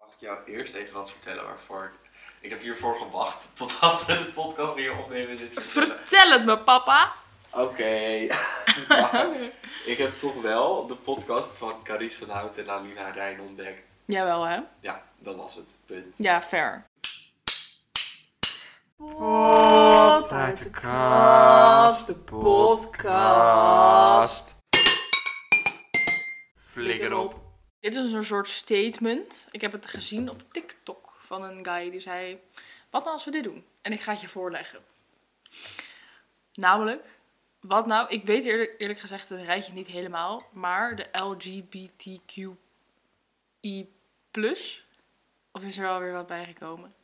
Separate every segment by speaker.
Speaker 1: ik jou eerst even wat vertellen waarvoor. Ik heb hiervoor gewacht totdat we de podcast weer opnemen. Dit vertellen.
Speaker 2: Vertel het me, papa.
Speaker 1: Oké. Maar ik heb toch wel de podcast van Carice van Hout en Alina Rijn ontdekt.
Speaker 2: Jawel, hè?
Speaker 1: Ja, dat was het. Punt.
Speaker 2: Ja, fair.
Speaker 3: Pot uit de kast, de podcast. Flikker op.
Speaker 2: Dit is een soort statement. Ik heb het gezien op TikTok van een guy die zei: Wat nou als we dit doen? En ik ga het je voorleggen. Namelijk, wat nou? Ik weet eerlijk, eerlijk gezegd het rijtje niet helemaal, maar de LGBTQI. Of is er wel weer wat bijgekomen?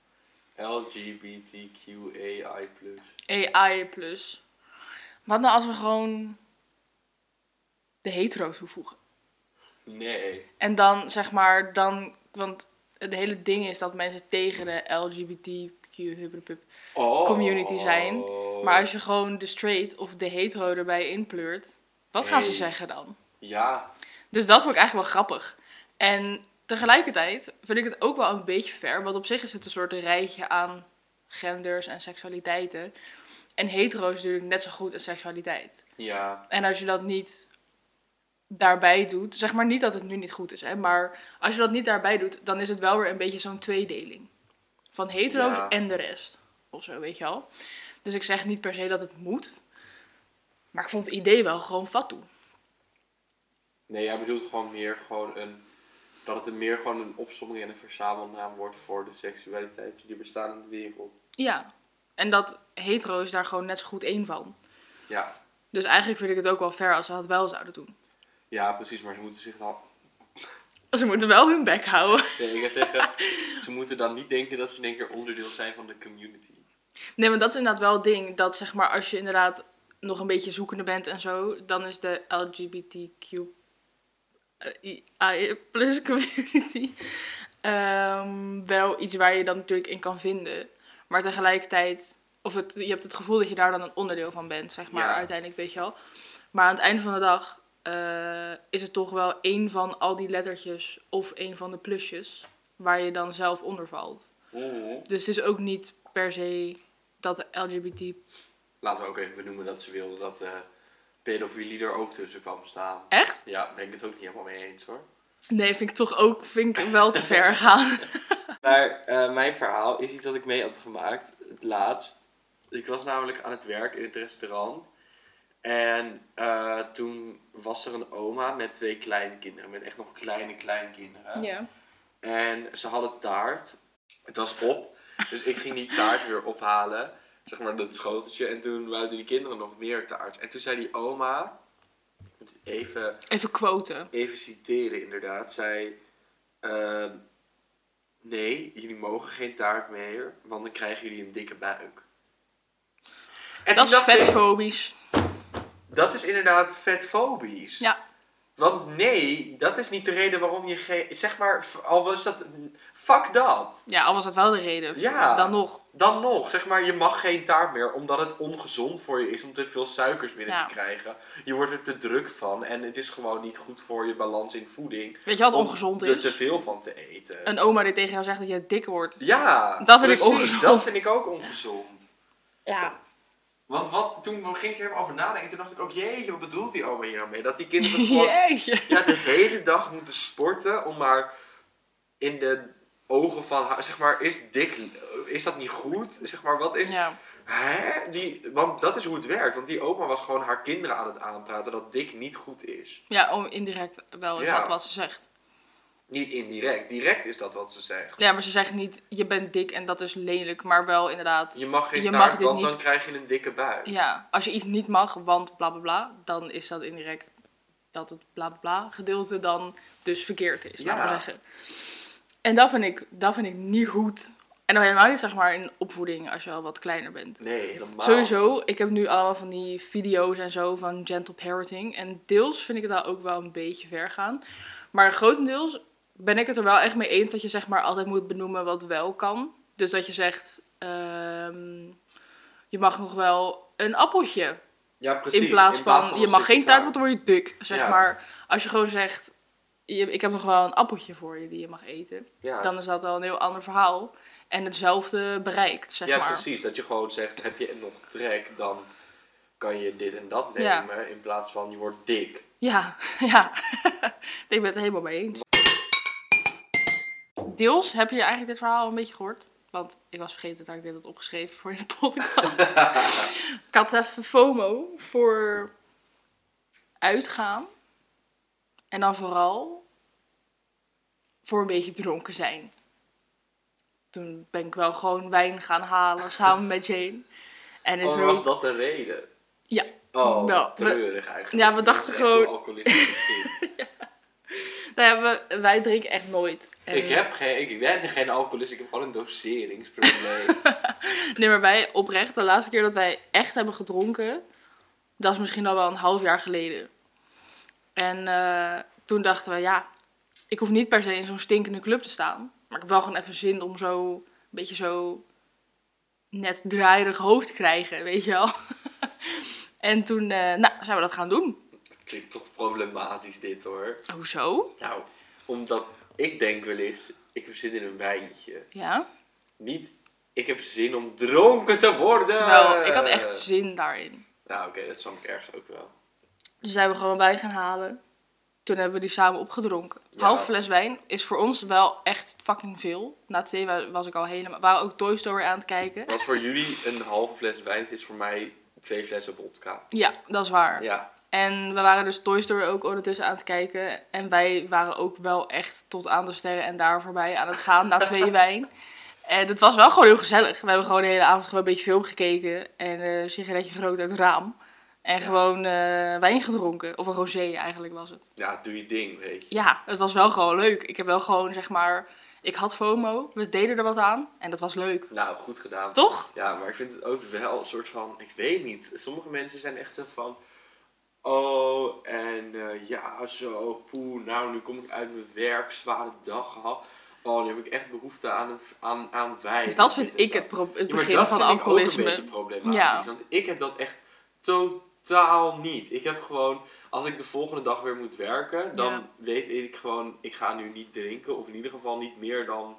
Speaker 1: LGBTQAI.
Speaker 2: AI. Wat nou als we gewoon de hetero's toevoegen?
Speaker 1: Nee.
Speaker 2: En dan zeg maar, dan, want het hele ding is dat mensen tegen de LGBTQ hupplepup.
Speaker 1: Oh.
Speaker 2: Community zijn, Maar als je gewoon de straight of de hetero erbij inpleurt, wat gaan ze
Speaker 1: Nee.
Speaker 2: zeggen dan?
Speaker 1: Ja.
Speaker 2: Dus dat vond ik eigenlijk wel grappig. En tegelijkertijd vind ik het ook wel een beetje ver, want op zich is het een soort rijtje aan genders en seksualiteiten. En hetero is natuurlijk net zo goed een seksualiteit.
Speaker 1: Ja.
Speaker 2: En als je dat niet daarbij doet, zeg maar niet dat het nu niet goed is, hè, maar als je dat niet daarbij doet, dan is het wel weer een beetje zo'n tweedeling. Van hetero's
Speaker 1: Ja.
Speaker 2: en de rest. Of zo, weet je al. Dus ik zeg niet per se dat het moet. Maar ik vond het idee wel gewoon fatu.
Speaker 1: Nee, jij bedoelt gewoon meer gewoon een... Dat het een meer gewoon een opsomming en een verzamelnaam wordt voor de seksualiteiten die bestaan in de wereld.
Speaker 2: Ja. En dat hetero is daar gewoon net zo goed één van.
Speaker 1: Ja.
Speaker 2: Dus eigenlijk vind ik het ook wel fair als ze dat wel zouden doen.
Speaker 1: Ja, precies. Maar ze moeten zich dan...
Speaker 2: Ze moeten wel hun bek houden.
Speaker 1: Nee, ik wil zeggen, ze moeten dan niet denken dat ze in één keer onderdeel zijn van de community.
Speaker 2: Nee, maar dat is inderdaad wel het ding. Dat zeg maar, als je inderdaad nog een beetje zoekende bent en zo, dan is de LGBTQ eh, plus community ehm, wel iets waar je dan natuurlijk in kan vinden. Maar tegelijkertijd, of het, je hebt het gevoel dat je daar dan een onderdeel van bent, zeg maar,
Speaker 1: Ja.
Speaker 2: uiteindelijk, weet je wel. Maar aan het einde van de dag eh, is het toch wel één van al die lettertjes of één van de plusjes waar je dan zelf onder valt. Dus het is ook niet per se dat de LGBT.
Speaker 1: Laten we ook even benoemen dat ze wilden dat eh pedofilie er ook tussen kwam staan.
Speaker 2: Echt?
Speaker 1: Ja, ben ik het ook niet helemaal mee eens hoor.
Speaker 2: Nee, vind ik toch ook vind ik wel te ver gaan.
Speaker 1: Maar eh, mijn verhaal is iets dat ik mee had gemaakt. Het laatst. Ik was namelijk aan het werk in het restaurant. En eh, toen was er een oma met twee kleinkinderen. Met echt nog kleine kleinkinderen.
Speaker 2: Ja.
Speaker 1: En ze hadden taart. Het was op. Dus ik ging die taart weer ophalen. Zeg maar dat schoteltje. En toen wilden die kinderen nog meer taart. En toen zei die oma. Ik moet het even
Speaker 2: Even quoten.
Speaker 1: even citeren, inderdaad, zei: ehm, Nee, jullie mogen geen taart meer, want dan krijgen jullie een dikke buik. En
Speaker 2: Dat
Speaker 1: toen
Speaker 2: is
Speaker 1: dacht ik,
Speaker 2: vetfobisch.
Speaker 1: dat is inderdaad vetfobisch.
Speaker 2: Ja.
Speaker 1: Want nee, dat is niet de reden waarom je geen. Zeg maar, f- al was dat. Fuck dat.
Speaker 2: Ja, al was dat wel de reden.
Speaker 1: Ja.
Speaker 2: Dan nog.
Speaker 1: Dan nog, zeg maar, je mag geen taart meer omdat het ongezond voor je is om te veel suikers binnen
Speaker 2: Ja.
Speaker 1: te krijgen. Je wordt er te druk van en het is gewoon niet goed voor je balans in voeding.
Speaker 2: Weet je wat
Speaker 1: om
Speaker 2: ongezond
Speaker 1: er te
Speaker 2: is?
Speaker 1: veel van te eten.
Speaker 2: Een oma die tegen jou zegt dat je dik wordt.
Speaker 1: Ja,
Speaker 2: Dat vind ik ongezond.
Speaker 1: Dat vind ik ook ongezond.
Speaker 2: Ja.
Speaker 1: Want wat, toen ging ik er helemaal over nadenken, toen dacht ik ook, jeetje, wat bedoelt die oma hier nou mee? Dat die kinderen gewoon
Speaker 2: Jeetje.
Speaker 1: ja, de hele dag moeten sporten om maar in de ogen van haar, zeg maar, is dik, is dat niet goed? Zeg maar, wat is,
Speaker 2: Ja.
Speaker 1: hè? Die, want dat is hoe het werkt, want die oma was gewoon haar kinderen aan het aanpraten dat dik niet goed is.
Speaker 2: Ja, om indirect wel
Speaker 1: Ja.
Speaker 2: dat wat ze zegt.
Speaker 1: Niet indirect, direct is dat wat ze zegt.
Speaker 2: Ja, maar ze zegt niet je bent dik en dat is lelijk, maar wel inderdaad.
Speaker 1: Je mag geen
Speaker 2: Je mag
Speaker 1: taart,
Speaker 2: dit
Speaker 1: want dan
Speaker 2: niet.
Speaker 1: krijg je een dikke buik.
Speaker 2: Ja, als je iets niet mag, want bla bla bla, dan is dat indirect dat het bla bla bla gedeelte dan dus verkeerd is,
Speaker 1: Ja.
Speaker 2: laat maar zeggen. En dat vind, ik, dat vind ik niet goed. En dan helemaal niet zeg maar in opvoeding als je al wat kleiner bent.
Speaker 1: Nee, helemaal
Speaker 2: Sowieso,
Speaker 1: niet.
Speaker 2: ik heb nu allemaal van die video's en zo van gentle parenting. En deels vind ik het daar ook wel een beetje ver gaan. Maar grotendeels ben ik het er wel echt mee eens dat je zeg maar altijd moet benoemen wat wel kan. Dus dat je zegt, ehm, je mag nog wel een appeltje.
Speaker 1: Ja, precies.
Speaker 2: in plaats van,
Speaker 1: een
Speaker 2: je mag
Speaker 1: dikke
Speaker 2: geen taart, want dan word je dik. Zeg
Speaker 1: Ja.
Speaker 2: maar, als je gewoon zegt, je- ik heb nog wel een appeltje voor je die je mag eten.
Speaker 1: Ja,
Speaker 2: Dan is dat al een heel ander verhaal. En hetzelfde bereikt, zeg
Speaker 1: ja
Speaker 2: maar.
Speaker 1: precies. Dat je gewoon zegt, heb je nog trek, dan kan je dit en dat
Speaker 2: Ja.
Speaker 1: nemen. In plaats van, je wordt dik.
Speaker 2: Ja, ja. ik ben het er helemaal mee eens. Deels heb je eigenlijk dit verhaal een beetje gehoord. Want ik was vergeten dat ik dit had opgeschreven voor in de podcast. ik had even FOMO voor uitgaan. En dan vooral voor een beetje dronken zijn. Toen ben ik wel gewoon wijn gaan halen samen met Jane. En is
Speaker 1: Oh,
Speaker 2: er
Speaker 1: was
Speaker 2: ook...
Speaker 1: dat de reden?
Speaker 2: Ja,
Speaker 1: Oh,
Speaker 2: Nou, we-
Speaker 1: treurig eigenlijk.
Speaker 2: ja, we
Speaker 1: Dat
Speaker 2: dachten
Speaker 1: is echt een
Speaker 2: gewoon-
Speaker 1: alcoholistisch kind.
Speaker 2: nou ja, we- wij drinken echt nooit. En-
Speaker 1: ik, heb geen, ik ben geen alcoholist, ik heb gewoon een doseringsprobleem.
Speaker 2: Nee, maar wij oprecht, de laatste keer dat wij echt hebben gedronken, dat is misschien al wel een half jaar geleden. En eh, toen dachten we, ja, ik hoef niet per se in zo'n stinkende club te staan. Maar ik heb wel gewoon even zin om zo, een beetje zo net draaierig hoofd te krijgen, weet je wel. en toen, eh, nou, zijn we dat gaan doen.
Speaker 1: Het klinkt toch problematisch dit hoor.
Speaker 2: Hoezo?
Speaker 1: Nou, omdat ik denk wel eens, ik heb zin in een wijntje.
Speaker 2: Ja.
Speaker 1: Niet, ik heb zin om dronken te worden.
Speaker 2: Wel, ik had
Speaker 1: Eh.
Speaker 2: echt zin daarin.
Speaker 1: Nou oké, dat snap ik ergens ook wel.
Speaker 2: Dus zijn we gewoon wijn gaan halen. Toen hebben we die samen opgedronken. Een
Speaker 1: Ja.
Speaker 2: Half fles wijn is voor ons wel echt fucking veel. Na twee wa- was ik al helemaal... We waren ook Toy Story aan het kijken.
Speaker 1: Wat voor jullie een halve fles wijn is, is voor mij twee flessen vodka.
Speaker 2: Ja, dat is waar.
Speaker 1: Ja,
Speaker 2: En we waren dus Toy Story ook ondertussen aan het kijken. En wij waren ook wel echt tot aan de sterren en daar voorbij aan het gaan na twee wijn. En het was wel gewoon heel gezellig. We hebben gewoon de hele avond gewoon een beetje film gekeken. En eh, een sigaretje gerookt uit het raam. En gewoon eh, wijn gedronken. Of een rosé eigenlijk was het.
Speaker 1: ja, doe je ding, weet je.
Speaker 2: ja, het was wel gewoon leuk. Ik heb wel gewoon, zeg maar, ik had FOMO, we deden er wat aan en dat was leuk.
Speaker 1: Nou, goed gedaan.
Speaker 2: Toch?
Speaker 1: Ja, maar ik vind het ook wel een soort van, ik weet niet. Sommige mensen zijn echt zo van, oh en eh, ja zo, poeh, nou nu kom ik uit mijn werk, zware dag gehad. Oh, nu heb ik echt behoefte aan, een, aan, aan wijn.
Speaker 2: Dat vind
Speaker 1: Dit en
Speaker 2: ik het, pro- het
Speaker 1: Ja, maar
Speaker 2: begin
Speaker 1: dat
Speaker 2: van
Speaker 1: vind ik ook een beetje
Speaker 2: alcoholisme.
Speaker 1: problematisch.
Speaker 2: Ja.
Speaker 1: Want ik heb dat echt totaal niet. Ik heb gewoon, als ik de volgende dag weer moet werken, dan
Speaker 2: Ja.
Speaker 1: weet ik gewoon, ik ga nu niet drinken. Of in ieder geval niet meer dan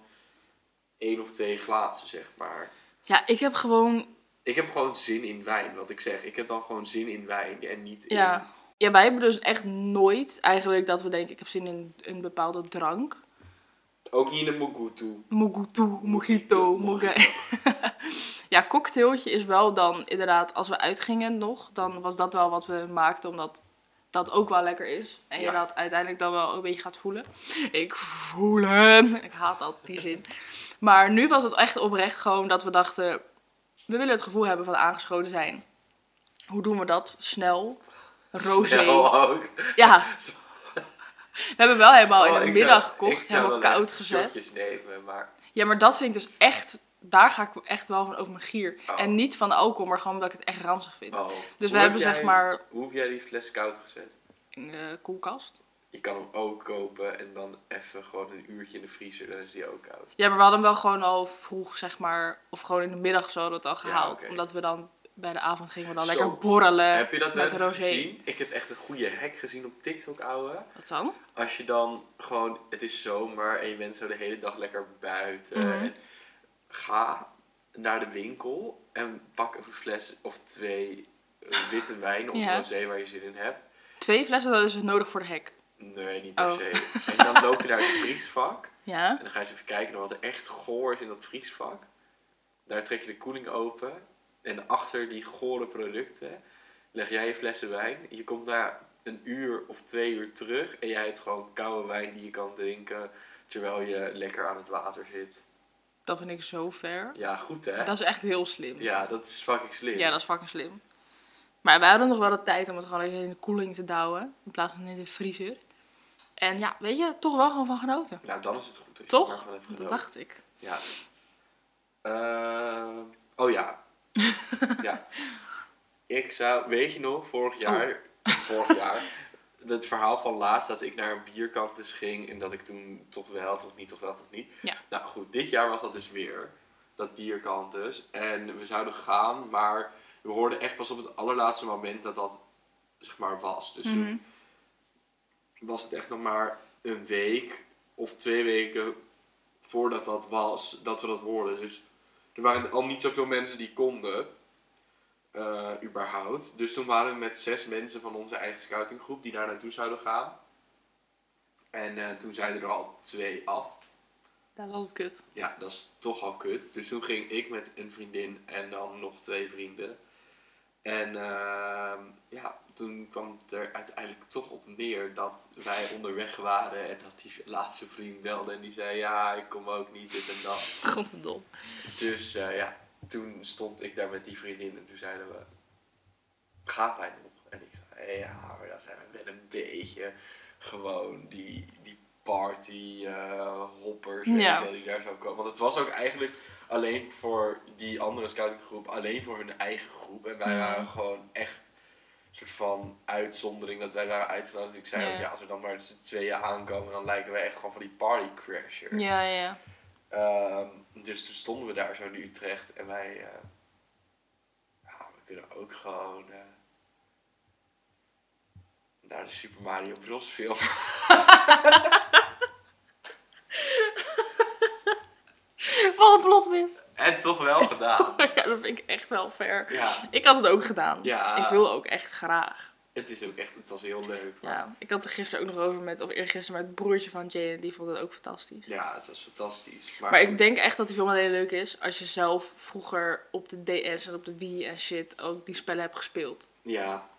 Speaker 1: één of twee glazen, zeg maar.
Speaker 2: Ja, ik heb gewoon,
Speaker 1: Ik heb gewoon zin in wijn, wat ik zeg. Ik heb dan gewoon zin in wijn en niet in...
Speaker 2: ja. Ja, wij hebben dus echt nooit eigenlijk dat we denken, ik heb zin in een bepaalde drank.
Speaker 1: Ook niet in een mogutu.
Speaker 2: Mogutu, mojito, moge. ja, cocktailtje is wel dan inderdaad, als we uitgingen nog, dan was dat wel wat we maakten, omdat dat ook wel lekker is. En je
Speaker 1: Ja.
Speaker 2: dat uiteindelijk dan wel een beetje gaat voelen. Ik voel hem. Ik haat dat, die zin. Maar nu was het echt oprecht gewoon dat we dachten, we willen het gevoel hebben van aangeschoten zijn. Hoe doen we dat? Snel. Rosé.
Speaker 1: Snel ook. Oh,
Speaker 2: Ja. We hebben wel helemaal in de
Speaker 1: ik
Speaker 2: middag
Speaker 1: zou- ik
Speaker 2: gekocht,
Speaker 1: zou
Speaker 2: helemaal
Speaker 1: wel echt
Speaker 2: koud gezet.
Speaker 1: shotjes nemen, maar...
Speaker 2: Ja, maar dat vind ik dus echt. Daar ga ik echt wel van over mijn gier.
Speaker 1: Oh.
Speaker 2: En niet van de alcohol, maar gewoon omdat ik het echt ranzig vind.
Speaker 1: Oh.
Speaker 2: Dus
Speaker 1: Hoe
Speaker 2: we hebben
Speaker 1: heb
Speaker 2: zeg
Speaker 1: jij-
Speaker 2: maar
Speaker 1: Hoe heb jij die fles koud gezet?
Speaker 2: in de koelkast.
Speaker 1: Je kan hem ook kopen en dan even gewoon een uurtje in de vriezer, dan is die ook koud.
Speaker 2: Ja, maar we hadden hem wel gewoon al vroeg, zeg maar. Of gewoon in de middag zo dat al gehaald.
Speaker 1: oké.
Speaker 2: Omdat we dan bij de avond gingen we dan
Speaker 1: Zo.
Speaker 2: lekker borrelen.
Speaker 1: heb je dat wel
Speaker 2: Eh, met
Speaker 1: eens
Speaker 2: rosé.
Speaker 1: gezien? Ik heb echt een goede hack gezien op TikTok, ouwe.
Speaker 2: Wat dan?
Speaker 1: Als je dan gewoon, het is zomer en je bent zo de hele dag lekker buiten.
Speaker 2: Mhm.
Speaker 1: En ga naar de winkel en pak een fles of twee eh, witte wijn of
Speaker 2: Ja.
Speaker 1: rosé waar je zin in hebt.
Speaker 2: Twee flessen, dat is dus nodig voor de hek.
Speaker 1: Nee, niet per
Speaker 2: Oh.
Speaker 1: se. En dan loop je naar het vriesvak.
Speaker 2: Ja?
Speaker 1: En dan ga je eens even kijken naar wat er echt goor is in dat vriesvak. Daar trek je de koeling open. En achter die gore producten leg jij je flessen wijn. Je komt na een uur of twee uur terug. En jij hebt gewoon koude wijn die je kan drinken. Terwijl je lekker aan het water zit.
Speaker 2: Dat vind ik zo ver.
Speaker 1: Ja, goed hè?
Speaker 2: Dat is echt heel slim.
Speaker 1: Ja, dat is fucking slim.
Speaker 2: Ja, dat is fucking slim. Maar wij hadden nog wel de tijd om het gewoon even in de koeling te douwen. In plaats van in de vriezer. En ja, weet je, toch wel gewoon van genoten.
Speaker 1: Nou, dan is het goed. dat je het
Speaker 2: Toch?
Speaker 1: maar gewoon hebt
Speaker 2: Dat
Speaker 1: gedaan.
Speaker 2: dacht ik.
Speaker 1: Ja. Eh, oh ja. ja. Ik zou, weet je nog, vorig jaar, vorig jaar, het verhaal van laatst dat ik naar een bierkant dus ging en dat ik toen toch wel, toch niet, toch wel, toch niet.
Speaker 2: Ja.
Speaker 1: Nou goed, dit jaar was dat dus weer, dat bierkant dus. En we zouden gaan, maar we hoorden echt pas op het allerlaatste moment dat dat, zeg maar, was. Dus toen was het echt nog maar een week of twee weken voordat dat was, dat we dat hoorden. Dus er waren al niet zoveel mensen die konden, eh, überhaupt. Dus toen waren we met zes mensen van onze eigen scoutinggroep die daar naartoe zouden gaan. En eh, toen zeiden er al twee af.
Speaker 2: Dat is altijd kut.
Speaker 1: Ja, dat is toch al kut. Dus toen ging ik met een vriendin en dan nog twee vrienden. En ehm, ja, toen kwam het er uiteindelijk toch op neer dat wij onderweg waren en dat die laatste vriend belde en die zei ja, ik kom ook niet, dit en dat.
Speaker 2: Godverdomme.
Speaker 1: Dus eh, ja, toen stond ik daar met die vriendin en toen zeiden we, gaan wij nog? En ik zei ja, maar dan zijn we wel een beetje gewoon die, die party eh, hoppers weet
Speaker 2: Ja.
Speaker 1: je wel, die daar zou komen. Want het was ook eigenlijk alleen voor die andere scoutinggroep, alleen voor hun eigen groep. En wij
Speaker 2: Ja.
Speaker 1: waren gewoon echt een soort van uitzondering dat wij waren uitgenodigd. Dus Ik zei
Speaker 2: Ja.
Speaker 1: ook, ja, als we dan maar met z'n tweeën aankomen, dan lijken wij echt gewoon van die party crashers.
Speaker 2: Ja, ja.
Speaker 1: Ehm, dus toen stonden we daar zo in Utrecht en wij, eh, ja, we kunnen ook gewoon eh, naar de Super Mario Bros. film.
Speaker 2: Wat een plotwist.
Speaker 1: en toch wel gedaan.
Speaker 2: Oh, Ja, dat vind ik echt wel fair.
Speaker 1: Ja,
Speaker 2: Ik had het ook gedaan.
Speaker 1: Ja.
Speaker 2: Ik wil ook echt graag.
Speaker 1: het is ook echt, het was heel leuk. maar-
Speaker 2: Ja, ik had er gisteren ook nog over met, of eergisteren met het broertje van Jane. Die vond het ook fantastisch.
Speaker 1: Ja, het was fantastisch.
Speaker 2: Maar ik denk echt dat die film alleen leuk is als je zelf vroeger op de DS en op de Wii en shit ook die spellen hebt gespeeld.
Speaker 1: Ja,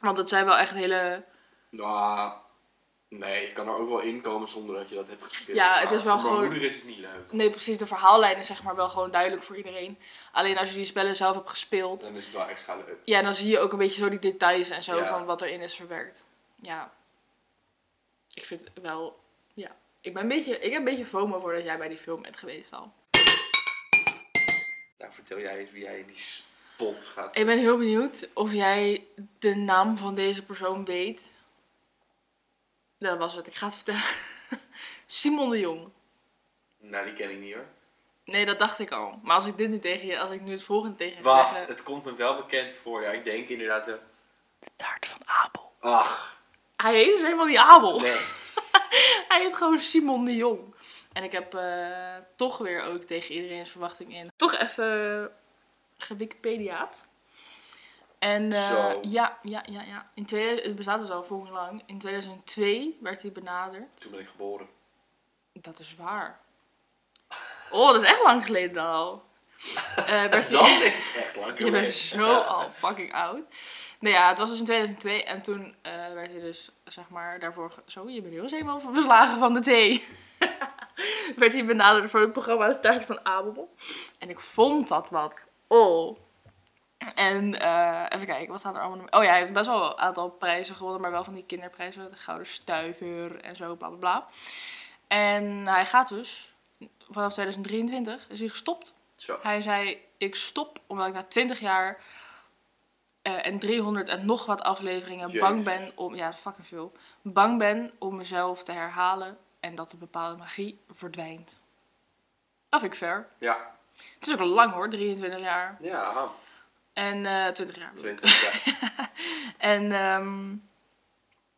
Speaker 2: Want dat zijn wel echt hele...
Speaker 1: nou, nee, je kan er ook wel in komen zonder dat je dat hebt gespeeld.
Speaker 2: Ja, het
Speaker 1: maar
Speaker 2: is wel
Speaker 1: voor
Speaker 2: gewoon-
Speaker 1: mijn moeder is het niet leuk.
Speaker 2: Nee, precies, de verhaallijn is zeg maar wel gewoon duidelijk voor iedereen. Alleen als je die spellen zelf hebt gespeeld,
Speaker 1: Dan is het wel extra leuk.
Speaker 2: ja, dan zie je ook een beetje zo die details en zo
Speaker 1: Ja.
Speaker 2: van wat erin is verwerkt. Ja. Ik vind het wel, ja. Ik, ben een beetje, ik heb een beetje FOMO voordat jij bij die film bent geweest al.
Speaker 1: Nou, vertel jij eens wie jij in die spot gaat.
Speaker 2: Ik ben heel benieuwd of jij de naam van deze persoon weet. Dat was het, ik ga het vertellen. Simon de Jong.
Speaker 1: Nou, die ken ik niet hoor.
Speaker 2: Nee, dat dacht ik al. Maar als ik dit nu tegen je, als ik nu het volgende tegen je zeg,
Speaker 1: Wacht,
Speaker 2: eh,
Speaker 1: het komt hem wel bekend voor. Ja, ik denk inderdaad. eh,
Speaker 2: de taart van Abel.
Speaker 1: Ach,
Speaker 2: Hij heet dus helemaal niet Abel.
Speaker 1: nee.
Speaker 2: Hij heet gewoon Simon de Jong. En ik heb eh, toch weer ook tegen iedereen's verwachting in. Toch even gewikipediaat. En eh,
Speaker 1: Zo.
Speaker 2: ja, ja, ja, ja. In 2000, het bestaat dus al volgens lang. In 2002 werd hij benaderd.
Speaker 1: Toen ben ik geboren.
Speaker 2: Dat is waar. Oh, dat is echt lang geleden dan al. Eh, werd
Speaker 1: Dan
Speaker 2: hij-
Speaker 1: is het echt lang
Speaker 2: Je
Speaker 1: geleden.
Speaker 2: bent zo al fucking oud. Nou ja, het was dus in 2002 en toen eh, werd hij dus, zeg maar, daarvoor... ge- Zo, je bent nu eens helemaal verslagen van de thee. werd hij benaderd voor het programma De Tuin van Abel. En ik vond dat wat. Oh. En eh, even kijken, wat staat er allemaal... nog- Oh ja, hij heeft best wel een aantal prijzen gewonnen, maar wel van die kinderprijzen. De Gouden Stuiver en zo, bla bla bla. En hij gaat dus, vanaf 2023 is hij gestopt.
Speaker 1: Zo.
Speaker 2: Hij zei: Ik stop omdat ik na 20 jaar eh, en 300 en nog wat afleveringen
Speaker 1: Jezus.
Speaker 2: bang ben om. Ja, fucking veel. Bang ben om mezelf te herhalen en dat de bepaalde magie verdwijnt. Dat vind ik fair.
Speaker 1: Ja,
Speaker 2: Het is ook al lang hoor, 23 jaar.
Speaker 1: ja, ah,
Speaker 2: En eh, 20 jaar. bedoel ik.
Speaker 1: 20 jaar.
Speaker 2: En ehm,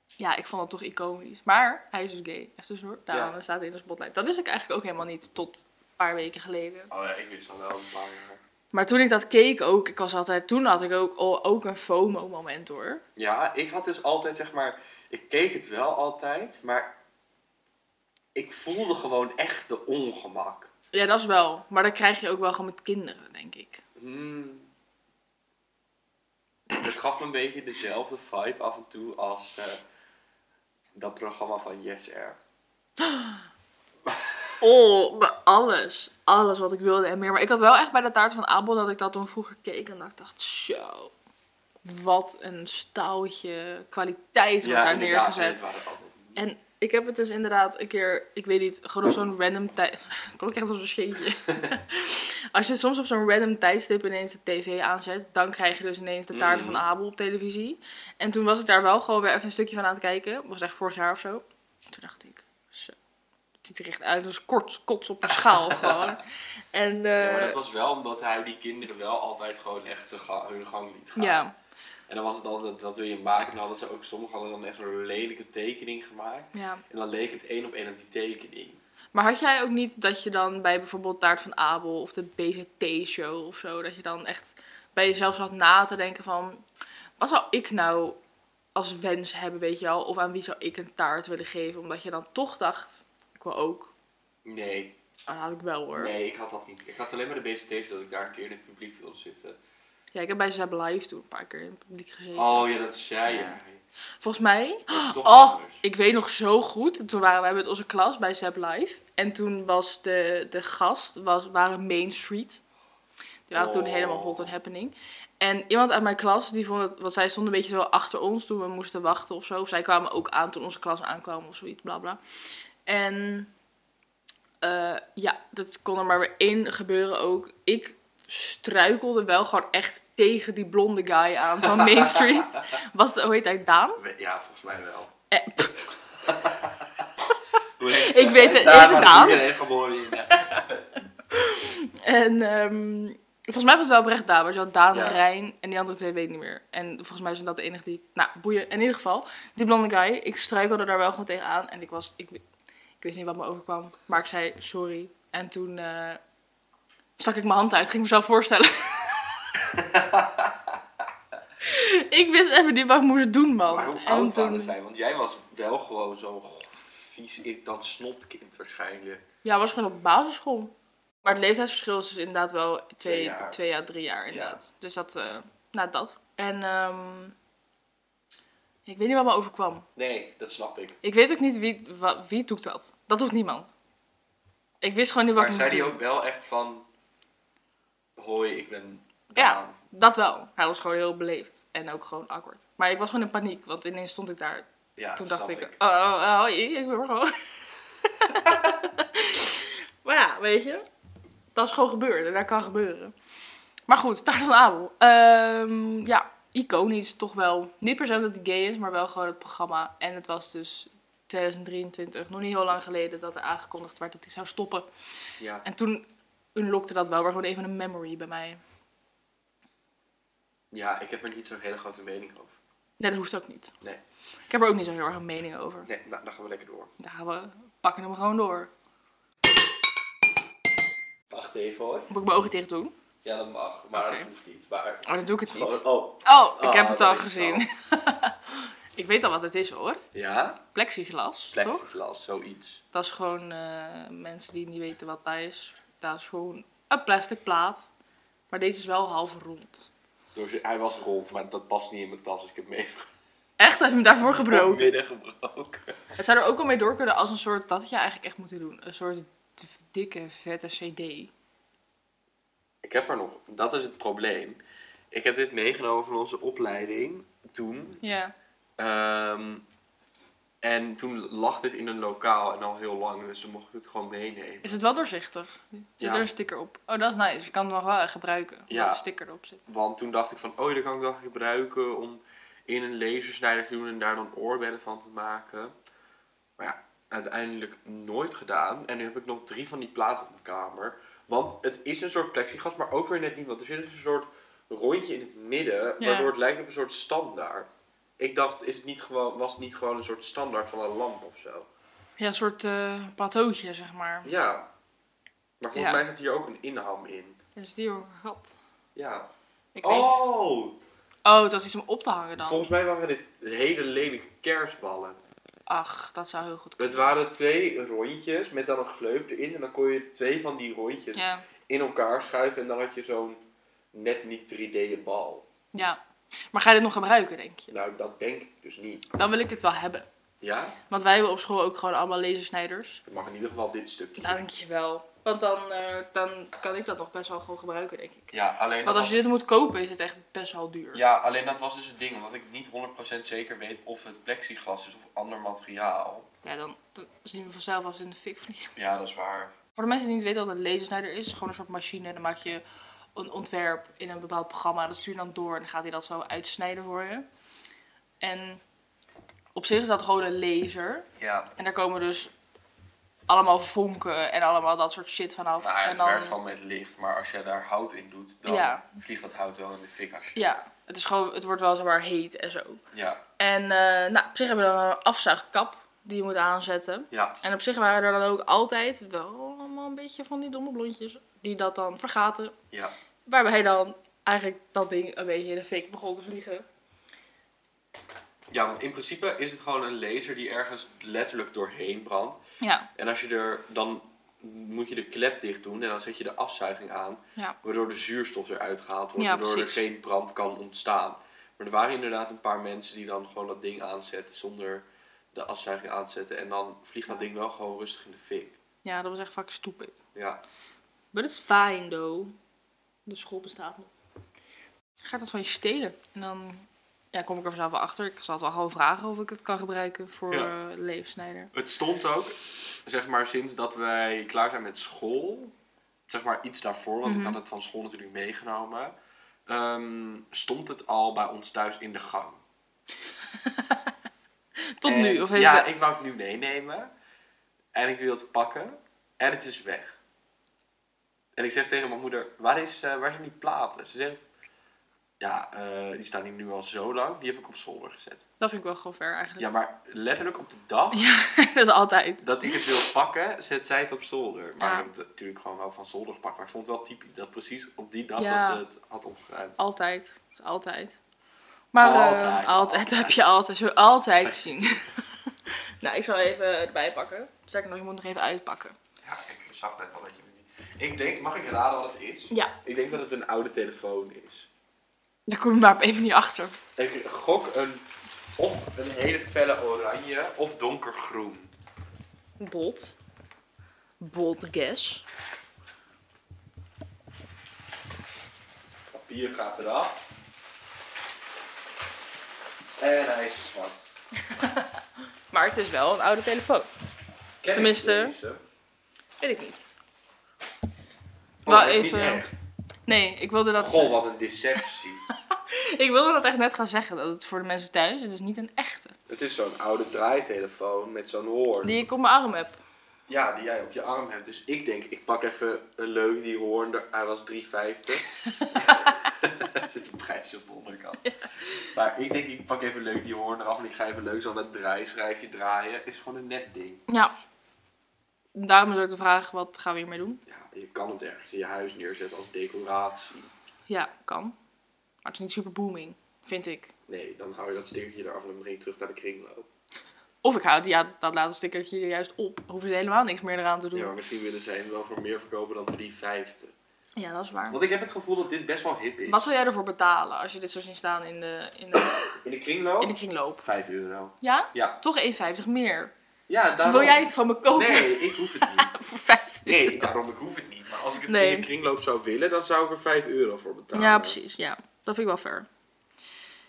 Speaker 2: ja, ik vond dat toch iconisch. Maar hij is dus gay. Even tussendoor. Daarom
Speaker 1: Ja.
Speaker 2: staat hij in de spotlight. Dat wist ik eigenlijk ook helemaal niet tot een paar weken geleden.
Speaker 1: Oh ja, ik wist al wel een paar jaar.
Speaker 2: Maar toen ik dat keek ook, ik was altijd, toen had ik ook, al- ook een FOMO moment hoor.
Speaker 1: Ja, ik had dus altijd zeg maar. Ik keek het wel altijd, maar. Ik voelde gewoon echt de ongemak.
Speaker 2: Ja, dat is wel. Maar dat krijg je ook wel gewoon met kinderen, denk ik.
Speaker 1: Hmm. Het gaf me een beetje dezelfde vibe af en toe als. eh, dat programma van Yes Air.
Speaker 2: Oh, maar alles. Alles wat ik wilde en meer. Maar ik had wel echt bij de taart van Abel dat ik dat toen vroeger keek en dat ik dacht, zo. Wat een staaltje kwaliteit wordt daar
Speaker 1: inderdaad, en
Speaker 2: neergezet.
Speaker 1: het waren altijd
Speaker 2: En ik heb het dus inderdaad een keer, ik weet niet, gewoon op zo'n random tijd. Kom ik echt op zo'n scheetje. Als je soms op zo'n random tijdstip ineens de tv aanzet, dan krijg je dus ineens de taarten van
Speaker 1: Mhm.
Speaker 2: Abel op televisie. En toen was ik daar wel gewoon weer even een stukje van aan het kijken. Dat was echt vorig jaar of zo. Toen dacht ik, zo. Het ziet er echt uit als kort kots op een schaal gewoon. En, eh,
Speaker 1: Ja, maar dat was wel omdat hij die kinderen wel altijd gewoon echt zijn ga- hun gang liet gaan.
Speaker 2: ja.
Speaker 1: En dan was het altijd, wat wil je maken? En dan hadden ze ook, sommigen hadden dan echt zo'n lelijke tekening gemaakt.
Speaker 2: Ja.
Speaker 1: En dan leek het één op één op die tekening.
Speaker 2: Maar had jij ook niet dat je dan bij bijvoorbeeld Taart van Abel of de BZT-show of zo, dat je dan echt bij jezelf zat na te denken van, wat zou ik nou als wens hebben, weet je wel? Of aan wie zou ik een taart willen geven? Omdat je dan toch dacht, ik wil ook.
Speaker 1: Nee,
Speaker 2: Ah, dat had ik wel hoor.
Speaker 1: nee, ik had dat niet. Ik had alleen maar de BCT's dat ik daar een keer in het publiek wilde zitten.
Speaker 2: Ja, ik heb bij Zeb Live toen een paar keer in het publiek gezeten.
Speaker 1: Oh ja, dat zei je.
Speaker 2: Ja. Volgens mij
Speaker 1: Dat is toch
Speaker 2: Oh,
Speaker 1: anders.
Speaker 2: Ik weet nog zo goed, toen waren wij met onze klas bij Zep Live. En toen was de, de gast, was, waren Main Street. Die waren toen
Speaker 1: Oh.
Speaker 2: helemaal hot and happening. En iemand uit mijn klas, die vond het, want zij stonden een beetje zo achter ons toen we moesten wachten of zo. Of zij kwamen ook aan toen onze klas aankwam of zoiets, bla bla. En eh, ja, dat kon er maar weer één gebeuren ook. Ik struikelde wel gewoon echt tegen die blonde guy aan van Main Street. Was het, hoe heet hij, Daan?
Speaker 1: We- Ja, volgens mij wel.
Speaker 2: Eh,
Speaker 1: Hoe heet
Speaker 2: Ik
Speaker 1: ze?
Speaker 2: weet het-
Speaker 1: Daar
Speaker 2: even
Speaker 1: was
Speaker 2: naam.
Speaker 1: iedereen geboren in.
Speaker 2: En ehm, volgens mij was het wel oprecht Daan. Maar je had Daan,
Speaker 1: Ja.
Speaker 2: Rijn en die andere twee weet ik niet meer. En volgens mij zijn dat de enige die... Nou, boeien. In ieder geval, die blonde guy. Ik struikelde daar wel gewoon tegenaan. En ik was... Ik, ik wist niet wat me overkwam. Maar ik zei sorry. En toen eh, stak ik mijn hand uit. Ging mezelf voorstellen. ik wist even niet wat ik moest doen, man.
Speaker 1: Maar hoe
Speaker 2: en
Speaker 1: oud waren
Speaker 2: toen-
Speaker 1: zij? Want jij was wel gewoon zo'n g- vies, irritant snotkind waarschijnlijk.
Speaker 2: Ja, het was gewoon op basisschool. Maar het leeftijdsverschil is dus inderdaad wel twee, twee, jaar.
Speaker 1: jaar.
Speaker 2: drie jaar inderdaad. Dus dat, eh nou dat. En ehm, ik weet niet wat me overkwam.
Speaker 1: Nee, dat snap ik.
Speaker 2: Ik weet ook niet wie, wa- wie doet dat. Dat doet niemand. Ik wist gewoon niet wat
Speaker 1: Maar
Speaker 2: ik
Speaker 1: zei
Speaker 2: moest
Speaker 1: die
Speaker 2: doen.
Speaker 1: ook wel echt van... Hoi, ik ben
Speaker 2: Ja.
Speaker 1: Daan.
Speaker 2: Dat wel. Hij was gewoon heel beleefd. En ook gewoon awkward. Maar ik was gewoon in paniek. Want ineens stond ik daar
Speaker 1: Ja,
Speaker 2: Toen
Speaker 1: snap
Speaker 2: dacht ik, oh, oh, oh, hoi, ik ben er gewoon. maar ja, weet je, dat is gewoon gebeurd en dat kan gebeuren. Maar goed, Taart van Abel. Ehm, ja, iconisch toch wel. Niet per se dat hij gay is, maar wel gewoon het programma. En het was dus 2023, nog niet heel lang geleden, dat er aangekondigd werd dat hij zou stoppen.
Speaker 1: Ja.
Speaker 2: En toen unlockte dat wel weer gewoon even een memory bij mij.
Speaker 1: ja, ik heb er niet zo'n hele grote mening over.
Speaker 2: Nee, dat hoeft ook niet.
Speaker 1: Nee.
Speaker 2: Ik heb er ook niet zo heel erg een mening over.
Speaker 1: Nee, nou, dan gaan we lekker door.
Speaker 2: Daar gaan we pakken hem gewoon door.
Speaker 1: Wacht even hoor.
Speaker 2: Moet ik mijn ogen dicht doen?
Speaker 1: Ja, dat mag. Maar
Speaker 2: Oké.
Speaker 1: dat hoeft niet. Maar...
Speaker 2: Oh, dan doe ik het niet.
Speaker 1: Oh, oh.
Speaker 2: Oh, ik
Speaker 1: Ah,
Speaker 2: heb het
Speaker 1: dat
Speaker 2: al
Speaker 1: is
Speaker 2: gezien. ik weet al wat het is hoor.
Speaker 1: Ja?
Speaker 2: Plexiglas, toch?
Speaker 1: Plexiglas, zoiets.
Speaker 2: Dat is gewoon eh, mensen die niet weten wat dat is. Dat is gewoon een plastic plaat. Maar deze is wel half rond.
Speaker 1: Dus hij was rond, maar dat past niet in mijn tas, dus ik heb hem even
Speaker 2: Echt, hij heeft hem daarvoor
Speaker 1: op
Speaker 2: gebroken.
Speaker 1: midden gebroken.
Speaker 2: Het zou er ook al mee door kunnen als een soort, dat had je eigenlijk echt moeten doen. Een soort d- dikke, vette cd.
Speaker 1: Ik heb er nog, dat is het probleem. Ik heb dit meegenomen van onze opleiding toen.
Speaker 2: Ja.
Speaker 1: Ehm, en toen lag dit in een lokaal en al heel lang, dus toen mocht ik het gewoon meenemen.
Speaker 2: Is het wel doorzichtig? Zit
Speaker 1: Ja.
Speaker 2: er een sticker op? Oh, dat is nice. Je kan hem nog wel echt gebruiken. Ja.
Speaker 1: Ja.
Speaker 2: Dat de sticker erop zit.
Speaker 1: Want toen dacht ik van, oh, dat kan ik wel gebruiken om in een lasersnijder te doen en daar dan oorbellen van te maken. Maar ja, uiteindelijk nooit gedaan. En nu heb ik nog drie van die platen op mijn kamer. Want het is een soort plexiglas, maar ook weer net niet. Want er zit dus een soort rondje in het midden,
Speaker 2: Ja.
Speaker 1: waardoor het lijkt op een soort standaard. Ik dacht, is het niet gewoon, was het niet gewoon een soort standaard van een lamp of zo?
Speaker 2: Ja, een soort eh plateautje, zeg maar.
Speaker 1: Ja. Maar volgens
Speaker 2: Ja.
Speaker 1: mij zit hier ook een inham in.
Speaker 2: Dus die hoor ik gehad.
Speaker 1: Ja.
Speaker 2: Ik weet
Speaker 1: Oh!
Speaker 2: Oh, dat is iets om op te hangen dan.
Speaker 1: Volgens mij waren dit hele lelijke kerstballen.
Speaker 2: Ach, dat zou heel goed
Speaker 1: Het waren twee rondjes met dan een gleuf erin. En dan kon je twee van die rondjes
Speaker 2: Ja,
Speaker 1: in elkaar schuiven. En dan had je zo'n net niet 3D bal.
Speaker 2: ja. Maar ga je dit nog gebruiken, denk je?
Speaker 1: Nou, dat denk ik dus niet.
Speaker 2: Dan wil ik het wel hebben.
Speaker 1: Ja?
Speaker 2: Want wij hebben op school ook gewoon allemaal lasersnijders.
Speaker 1: Dat mag in ieder geval dit stukje.
Speaker 2: Dank je wel. Want dan, eh, dan kan ik dat nog best wel gewoon gebruiken, denk ik.
Speaker 1: Ja, alleen
Speaker 2: Want als je dit moet kopen, is het echt best wel duur.
Speaker 1: ja, alleen dat was dus het ding. Omdat ik niet 100% zeker weet of het plexiglas is of ander materiaal.
Speaker 2: Ja, dan dan zien we vanzelf als in de fik vliegen.
Speaker 1: Ja, dat is waar.
Speaker 2: Voor de mensen die niet weten wat een lasersnijder is, is het gewoon een soort machine. Dan maak je een ontwerp in een bepaald programma. Dat stuur je dan door en dan gaat hij dat zo uitsnijden voor je. En op zich is dat gewoon een laser.
Speaker 1: Ja.
Speaker 2: En daar komen dus allemaal vonken en allemaal dat soort shit vanaf.
Speaker 1: Nou, ja,
Speaker 2: en
Speaker 1: het
Speaker 2: dan,
Speaker 1: werkt gewoon met licht, maar als je daar hout in doet, dan
Speaker 2: Ja.
Speaker 1: vliegt dat hout wel in de fik als je...
Speaker 2: Ja, het, is gewoon, het wordt wel zomaar heet en zo.
Speaker 1: Ja,
Speaker 2: En eh, nou, op zich hebben we dan een afzuigkap die je moet aanzetten.
Speaker 1: ja.
Speaker 2: En op zich waren er dan ook altijd wel allemaal een beetje van die domme blondjes die dat dan vergaten.
Speaker 1: ja.
Speaker 2: Waarbij dan eigenlijk dat ding een beetje in de fik begon te vliegen.
Speaker 1: Ja, want in principe is het gewoon een laser die ergens letterlijk doorheen brandt.
Speaker 2: Ja,
Speaker 1: En als je er, dan moet je de klep dicht doen en dan zet je de afzuiging aan,
Speaker 2: ja.
Speaker 1: waardoor de zuurstof eruit gehaald wordt,
Speaker 2: Ja,
Speaker 1: waardoor er
Speaker 2: precies.
Speaker 1: geen brand kan ontstaan. Maar er waren inderdaad een paar mensen die dan gewoon dat ding aanzetten zonder de afzuiging aan te zetten. En dan vliegt dat ding wel gewoon rustig in de fik.
Speaker 2: ja, dat was echt fucking stupid.
Speaker 1: Ja,
Speaker 2: But it's fine though. De school bestaat nog. Gaat dat van je stelen? En dan ja, kom ik er vanzelf wel achter. Ik zal het wel gewoon vragen of ik het kan gebruiken voor
Speaker 1: Ja.
Speaker 2: eh leefsnijder.
Speaker 1: Het stond ook, zeg maar, sinds dat wij klaar zijn met school, zeg maar iets daarvoor, want
Speaker 2: Mhm.
Speaker 1: ik had het van school natuurlijk meegenomen, ehm, stond het al bij ons thuis in de gang.
Speaker 2: Tot
Speaker 1: En-
Speaker 2: nu, of heeft
Speaker 1: Ja,
Speaker 2: het...
Speaker 1: ik wou het nu meenemen en ik wil het pakken en het is weg. En ik zeg tegen mijn moeder, waar, is, eh, waar zijn die platen? Ze zegt, ja, eh, die staan hier nu al zo lang, die heb ik op zolder gezet.
Speaker 2: Dat vind ik wel gewoon ver eigenlijk.
Speaker 1: Ja, maar letterlijk op de dag
Speaker 2: dat is altijd.
Speaker 1: dat ik het wil pakken, zet zij het op zolder. Maar
Speaker 2: Ja.
Speaker 1: ik heb het natuurlijk gewoon wel van zolder gepakt. Maar ik vond het wel typisch dat precies op die dag
Speaker 2: Ja.
Speaker 1: dat ze het had opgeruimd.
Speaker 2: Altijd. Altijd. Maar eh,
Speaker 1: Altijd,
Speaker 2: altijd,
Speaker 1: altijd.
Speaker 2: heb je altijd. Zul je altijd zien. nou, ik zal even erbij pakken. Zeg ik nog, je moet nog even uitpakken.
Speaker 1: Ja, ik zag net al dat je het niet... Ik denk, mag ik raden wat het is?
Speaker 2: Ja,
Speaker 1: Ik denk dat het een oude telefoon is.
Speaker 2: daar kom je maar even niet achter.
Speaker 1: Ik gok een, of een hele felle oranje of donkergroen.
Speaker 2: Bot. Bot guess.
Speaker 1: Papier gaat eraf. En hij is zwart.
Speaker 2: Maar het is wel een oude telefoon.
Speaker 1: Ken ik
Speaker 2: Tenminste.
Speaker 1: deze?
Speaker 2: Weet ik niet.
Speaker 1: Oh,
Speaker 2: Wou
Speaker 1: dat is niet
Speaker 2: even-
Speaker 1: echt.
Speaker 2: Nee, ik wilde dat...
Speaker 1: Goh, wat een deceptie.
Speaker 2: Ik wilde dat echt net gaan zeggen. Dat het voor de mensen thuis, het is niet een echte.
Speaker 1: het is zo'n oude draaitelefoon met zo'n hoorn.
Speaker 2: Die ik op mijn arm heb.
Speaker 1: Ja, die jij op je arm hebt. Dus ik denk, ik pak even een leuk die hoorn. er- Hij was 3,50. er zit een prijsje op de onderkant. Maar ik denk, ik pak even leuk die hoorn eraf. En ik ga even leuk zo'n dat draaischrijfje draaien. Is gewoon een nep ding.
Speaker 2: Ja. Daarom is ook de vraag, wat gaan we hiermee doen?
Speaker 1: Ja, je kan het ergens in je huis neerzetten als decoratie.
Speaker 2: Ja, kan. Maar het is niet super booming, vind ik.
Speaker 1: Nee, dan hou je dat stickertje eraf en dan breng je het terug naar de kringloop.
Speaker 2: Of ik hou die- ja, dat laatste stickertje er juist op. Dan hoeven ze helemaal niks meer eraan te doen.
Speaker 1: Ja,
Speaker 2: Ja,
Speaker 1: maar misschien willen ze hem wel voor meer verkopen dan 3,50.
Speaker 2: dat is waar.
Speaker 1: Want ik heb het gevoel dat dit best wel hip is.
Speaker 2: Wat zou jij ervoor betalen als je dit zou zien staan in de, in de,
Speaker 1: In de kringloop?
Speaker 2: in de kringloop?
Speaker 1: 5 euro.
Speaker 2: Ja?
Speaker 1: Ja.
Speaker 2: Toch 1,50 meer.
Speaker 1: Ja, daarom.
Speaker 2: Dus Wil jij het van me kopen
Speaker 1: Nee, ik hoef het niet.
Speaker 2: voor 5
Speaker 1: Nee, daarom ik hoef het niet. Maar als ik het
Speaker 2: Nee.
Speaker 1: in de kringloop zou willen, dan zou ik er 5 euro voor betalen.
Speaker 2: Ja, precies. Ja, dat vind ik wel fair.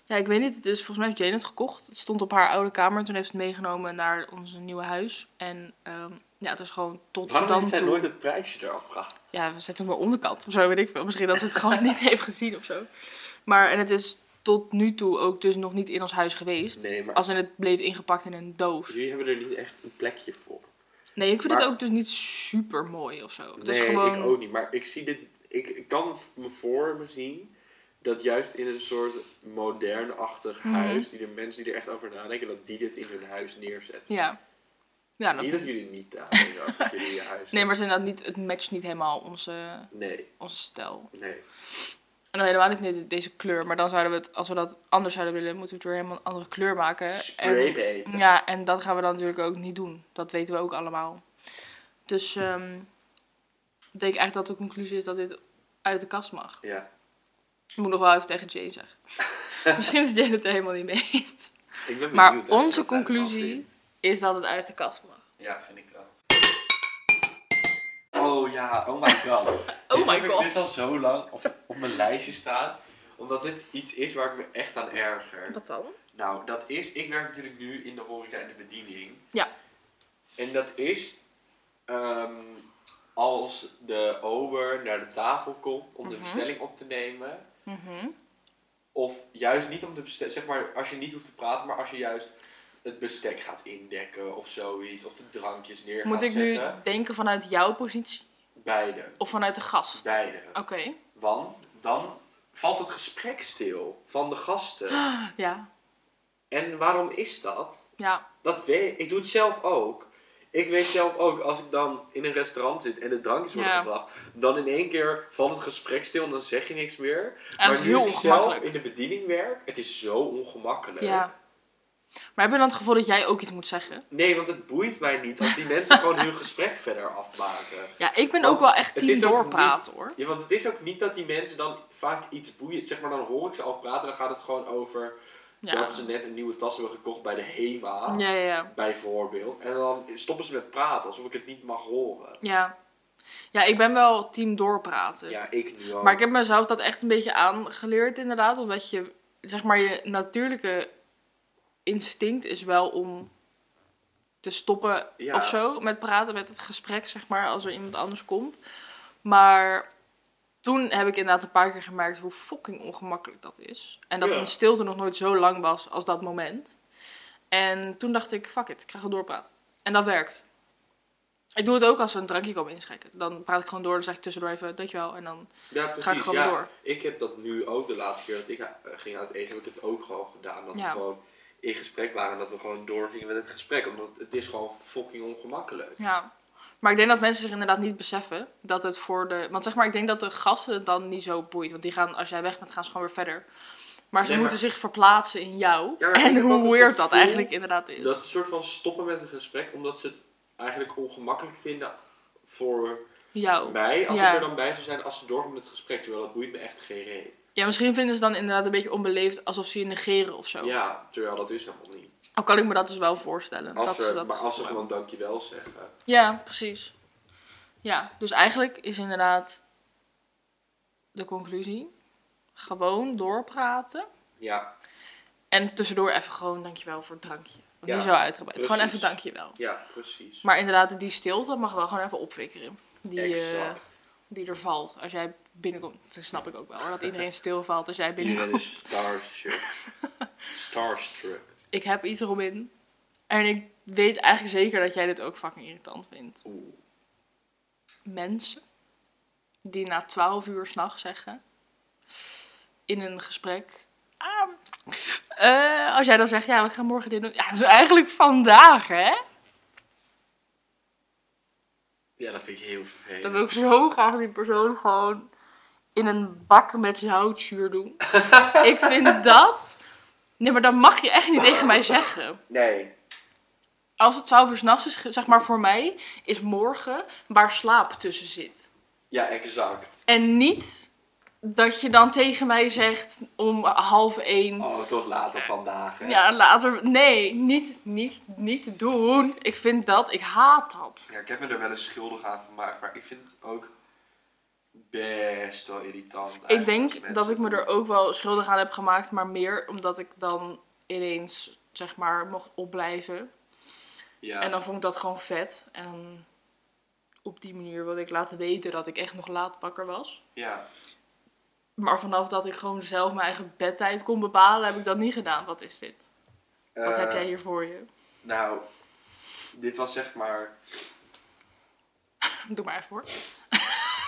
Speaker 2: Ja, ik weet niet. Dus volgens mij heeft Jane het gekocht. Het stond op haar oude kamer. Toen heeft ze het meegenomen naar ons nieuwe huis. En ehm, ja, het is gewoon tot
Speaker 1: Waarom
Speaker 2: dan
Speaker 1: heeft zij
Speaker 2: toe-
Speaker 1: nooit het prijsje eraf gehaald?
Speaker 2: Ja, we zetten hem maar onderkant of zo, weet ik veel. Misschien dat ze het gewoon niet heeft gezien of zo. Maar, en het is tot nu toe ook dus nog niet in ons huis geweest.
Speaker 1: Nee, maar
Speaker 2: Als in het bleef ingepakt in een doos.
Speaker 1: jullie hebben er niet echt een plekje voor.
Speaker 2: Nee, ik vind
Speaker 1: Maar-
Speaker 2: het ook dus niet super mooi of zo. Het
Speaker 1: nee,
Speaker 2: is gewoon...
Speaker 1: ik ook niet. Maar ik zie dit... Ik, ik kan me voor me zien dat juist in een soort modern-achtig
Speaker 2: Mhm.
Speaker 1: huis... die de mensen die er echt over nadenken, dat die dit in hun huis neerzetten.
Speaker 2: Ja. Ja, dat-
Speaker 1: Niet dat jullie niet nadenken over wat jullie in je huis
Speaker 2: Nee, maar het, is inderdaad niet, het matcht niet helemaal onze,
Speaker 1: hebben. Nee,
Speaker 2: onze stijl.
Speaker 1: nee.
Speaker 2: En dan helemaal niet met deze kleur. Maar dan zouden we het, als we dat anders zouden willen, moeten we het weer helemaal een andere kleur maken.
Speaker 1: Spray
Speaker 2: En-
Speaker 1: eten.
Speaker 2: Ja, en dat gaan we dan natuurlijk ook niet doen. Dat weten we ook allemaal. Dus ehm, ik denk eigenlijk dat de conclusie is dat dit uit de kast mag.
Speaker 1: Ja.
Speaker 2: Ik moet nog wel even tegen Jane zeggen. Misschien is Jane het er helemaal niet mee eens.
Speaker 1: Ik ben
Speaker 2: Maar
Speaker 1: benieuwd eigenlijk
Speaker 2: onze
Speaker 1: wat zij ervan
Speaker 2: conclusie-
Speaker 1: vindt.
Speaker 2: Is dat het uit de kast mag.
Speaker 1: Ja, vind ik wel. Oh ja, oh my god.
Speaker 2: Oh
Speaker 1: Dit
Speaker 2: my
Speaker 1: heb ik
Speaker 2: god.
Speaker 1: dus al zo lang op, op mijn lijstje staan. Omdat dit iets is waar ik me echt aan erger.
Speaker 2: Wat dan?
Speaker 1: Nou, dat is... Ik werk natuurlijk nu in de horeca en de bediening.
Speaker 2: Ja.
Speaker 1: En dat is... ehm, als de ober naar de tafel komt om de
Speaker 2: Mhm.
Speaker 1: bestelling op te nemen... Of juist niet om de bestelling... Zeg maar, als je niet hoeft te praten, maar als je juist... het bestek gaat indekken of zoiets. Of de drankjes neer
Speaker 2: Moet
Speaker 1: gaat
Speaker 2: ik nu
Speaker 1: zetten.
Speaker 2: denken vanuit jouw positie
Speaker 1: Beide.
Speaker 2: of vanuit de gast?
Speaker 1: Beide.
Speaker 2: Oké,
Speaker 1: Want dan valt het gesprek stil van de gasten.
Speaker 2: ja.
Speaker 1: En waarom is dat?
Speaker 2: Ja,
Speaker 1: Dat weet ik. doe het zelf ook. Ik weet zelf ook, als ik dan in een restaurant zit en de drankjes worden
Speaker 2: Ja.
Speaker 1: gebracht, dan in één keer valt het gesprek stil en dan zeg je niks meer.
Speaker 2: en dat is
Speaker 1: maar nu
Speaker 2: heel
Speaker 1: ik zelf
Speaker 2: ongemakkelijk.
Speaker 1: in de bediening werk, het is zo ongemakkelijk.
Speaker 2: Ja. Maar heb je dan het gevoel dat jij ook iets moet zeggen?
Speaker 1: Nee, want het boeit mij niet als die mensen gewoon hun gesprek verder afmaken.
Speaker 2: Ja, ik ben
Speaker 1: Want
Speaker 2: ook wel echt
Speaker 1: het
Speaker 2: team
Speaker 1: is ook
Speaker 2: doorpraten hoor.
Speaker 1: Ja, want het is ook niet dat die mensen dan vaak iets boeien. Zeg maar, dan hoor ik ze al praten, dan gaat het gewoon over
Speaker 2: Ja.
Speaker 1: dat ze net een nieuwe tas hebben gekocht bij de HEMA,
Speaker 2: Ja, ja, ja.
Speaker 1: bijvoorbeeld. En dan stoppen ze met praten, alsof ik het niet mag horen.
Speaker 2: Ja. Ja, ik ben wel team doorpraten.
Speaker 1: Ja, ik nu ook.
Speaker 2: Maar ik heb mezelf dat echt een beetje aangeleerd inderdaad. Omdat je, zeg maar, je natuurlijke instinct is wel om te stoppen
Speaker 1: Ja.
Speaker 2: of zo met praten, met het gesprek, zeg maar, als er iemand anders komt. Maar toen heb ik inderdaad een paar keer gemerkt hoe fucking ongemakkelijk dat is. En dat
Speaker 1: Ja.
Speaker 2: een stilte nog nooit zo lang was als dat moment. En toen dacht ik, fuck it, ik ga gewoon doorpraten. En dat werkt. Ik doe het ook als ze een drankje komen inschenken. Dan praat ik gewoon door, dan zeg ik tussendoor even, dankjewel. En dan
Speaker 1: ja,
Speaker 2: ga ik
Speaker 1: precies.
Speaker 2: gewoon
Speaker 1: ja.
Speaker 2: door.
Speaker 1: Ik heb dat nu ook de laatste keer dat ik eh, ging uit eten, heb ik het ook gewoon gedaan. Dat
Speaker 2: Ja.
Speaker 1: we gewoon in gesprek waren en dat we gewoon doorgingen met het gesprek. Omdat het is gewoon fucking ongemakkelijk.
Speaker 2: Ja. Maar ik denk dat mensen zich inderdaad niet beseffen dat het voor de. Want zeg maar, ik denk dat de gasten het dan niet zo boeit. Want die gaan, als jij weg bent, gaan ze gewoon weer verder. Maar ze
Speaker 1: Nee, maar-
Speaker 2: moeten zich verplaatsen in jou.
Speaker 1: Ja, maar ik
Speaker 2: en
Speaker 1: heb ook
Speaker 2: hoe
Speaker 1: het
Speaker 2: weird dat
Speaker 1: gevoel
Speaker 2: eigenlijk inderdaad is.
Speaker 1: Dat soort van stoppen met een gesprek, omdat ze het eigenlijk ongemakkelijk vinden voor
Speaker 2: Jou.
Speaker 1: mij. Als
Speaker 2: ja.
Speaker 1: ik er dan bij zou zijn als ze doorgaan met het gesprek. Terwijl dat boeit me echt geen reet.
Speaker 2: ja, misschien vinden ze dan inderdaad een beetje onbeleefd alsof ze je negeren of zo.
Speaker 1: Ja, terwijl dat is helemaal niet.
Speaker 2: Al kan ik me dat dus wel voorstellen.
Speaker 1: Als
Speaker 2: dat
Speaker 1: we-
Speaker 2: ze dat
Speaker 1: maar als ze
Speaker 2: gevoel
Speaker 1: gewoon dankjewel zeggen.
Speaker 2: Ja, precies. Ja, dus eigenlijk is inderdaad de conclusie: gewoon doorpraten.
Speaker 1: Ja,
Speaker 2: En tussendoor even gewoon dankjewel voor het drankje. Want
Speaker 1: Ja,
Speaker 2: niet zo uitgebreid.
Speaker 1: precies.
Speaker 2: Gewoon even dankjewel.
Speaker 1: ja precies.
Speaker 2: Maar inderdaad, die stilte mag wel gewoon even opwikkelen. Die, eh,
Speaker 1: exact.
Speaker 2: die er valt als jij binnenkomt. Dat snap ik ook wel hoor. Dat iedereen stilvalt als jij binnenkomt.
Speaker 1: Iedereen is starstruck. starstruck.
Speaker 2: Ik heb iets, Robin. En ik weet eigenlijk zeker dat jij dit ook fucking irritant vindt.
Speaker 1: Oeh.
Speaker 2: Mensen die na 12 uur s'nachts zeggen in een gesprek. Ah, eh, als jij dan zegt, ja, we gaan morgen dit doen. Ja, dat is eigenlijk vandaag, hè?
Speaker 1: Ja, dat vind ik heel
Speaker 2: Dan
Speaker 1: vervelend.
Speaker 2: wil ik zo graag die persoon gewoon in een bak met houtzuur doen. ik vind dat. Nee, maar dat mag je echt niet tegen mij zeggen.
Speaker 1: Nee.
Speaker 2: Als het 12 uur s'nachts is, ge- zeg maar voor mij, is morgen waar slaap tussen zit.
Speaker 1: Ja, exact.
Speaker 2: En niet dat je dan tegen mij zegt om half één.
Speaker 1: Oh, tot later vandaag. Hè?
Speaker 2: Ja, later. Nee, niet, niet, niet doen. Ik vind dat, ik haat dat.
Speaker 1: Ja, ik heb me er wel eens schuldig aan gemaakt, maar ik vind het ook best wel irritant.
Speaker 2: Ik
Speaker 1: eigenlijk als
Speaker 2: denk
Speaker 1: mensen
Speaker 2: dat ik me
Speaker 1: doen.
Speaker 2: er ook wel schuldig aan heb gemaakt, maar meer omdat ik dan ineens zeg maar mocht opblijven.
Speaker 1: Ja.
Speaker 2: En dan vond ik dat gewoon vet. En op die manier wilde ik laten weten dat ik echt nog laat wakker was.
Speaker 1: ja.
Speaker 2: Maar vanaf dat ik gewoon zelf mijn eigen bedtijd kon bepalen, heb ik dat niet gedaan. Wat is dit? Wat heb
Speaker 1: Eh,
Speaker 2: jij hier voor je?
Speaker 1: Nou, dit was zeg maar...
Speaker 2: Doe maar even hoor.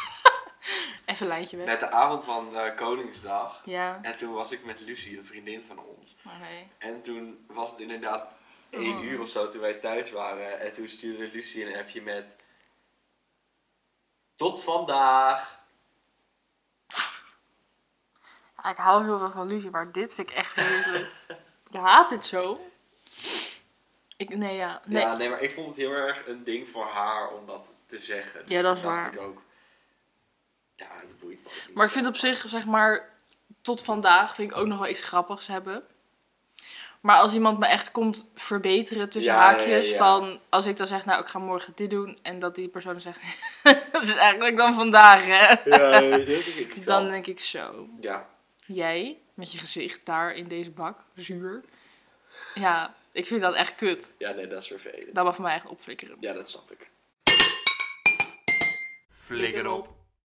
Speaker 2: even een lijntje weg.
Speaker 1: Net de avond van eh, Koningsdag.
Speaker 2: Ja.
Speaker 1: En toen was ik met Lucie, een vriendin van ons.
Speaker 2: Maar nee.
Speaker 1: En toen was het inderdaad één
Speaker 2: Oh.
Speaker 1: uur of zo toen wij thuis waren. En toen stuurde Lucie een appje met... Tot vandaag!
Speaker 2: Ah, Ik hou heel veel van Lucie, maar dit vind ik echt vreselijk. ik haat dit zo. Ik, nee, ja. Nee.
Speaker 1: Ja, nee, maar ik vond het heel erg een ding voor haar om dat te zeggen. Dus
Speaker 2: Ja, dat is
Speaker 1: toen dacht
Speaker 2: waar.
Speaker 1: Ik ook, ja, dat boeit me ook niet.
Speaker 2: Maar ik vind op zich, zeg maar, tot vandaag vind ik ook nog wel iets grappigs hebben. Maar als iemand me echt komt verbeteren tussen
Speaker 1: Ja, ja, ja,
Speaker 2: haakjes
Speaker 1: ja.
Speaker 2: van... Als ik dan zeg, nou, ik ga morgen dit doen. En dat die persoon zegt, dat is eigenlijk dan vandaag, hè.
Speaker 1: Ja, dat is irritant.
Speaker 2: Dan denk ik zo.
Speaker 1: Ja,
Speaker 2: Jij, met je gezicht daar in deze bak, zuur. Ja, ik vind dat echt kut.
Speaker 1: ja, nee, dat is vervelend.
Speaker 2: Dat mag van mij echt opflikkeren.
Speaker 1: Ja, dat snap ik.
Speaker 3: Flikker op.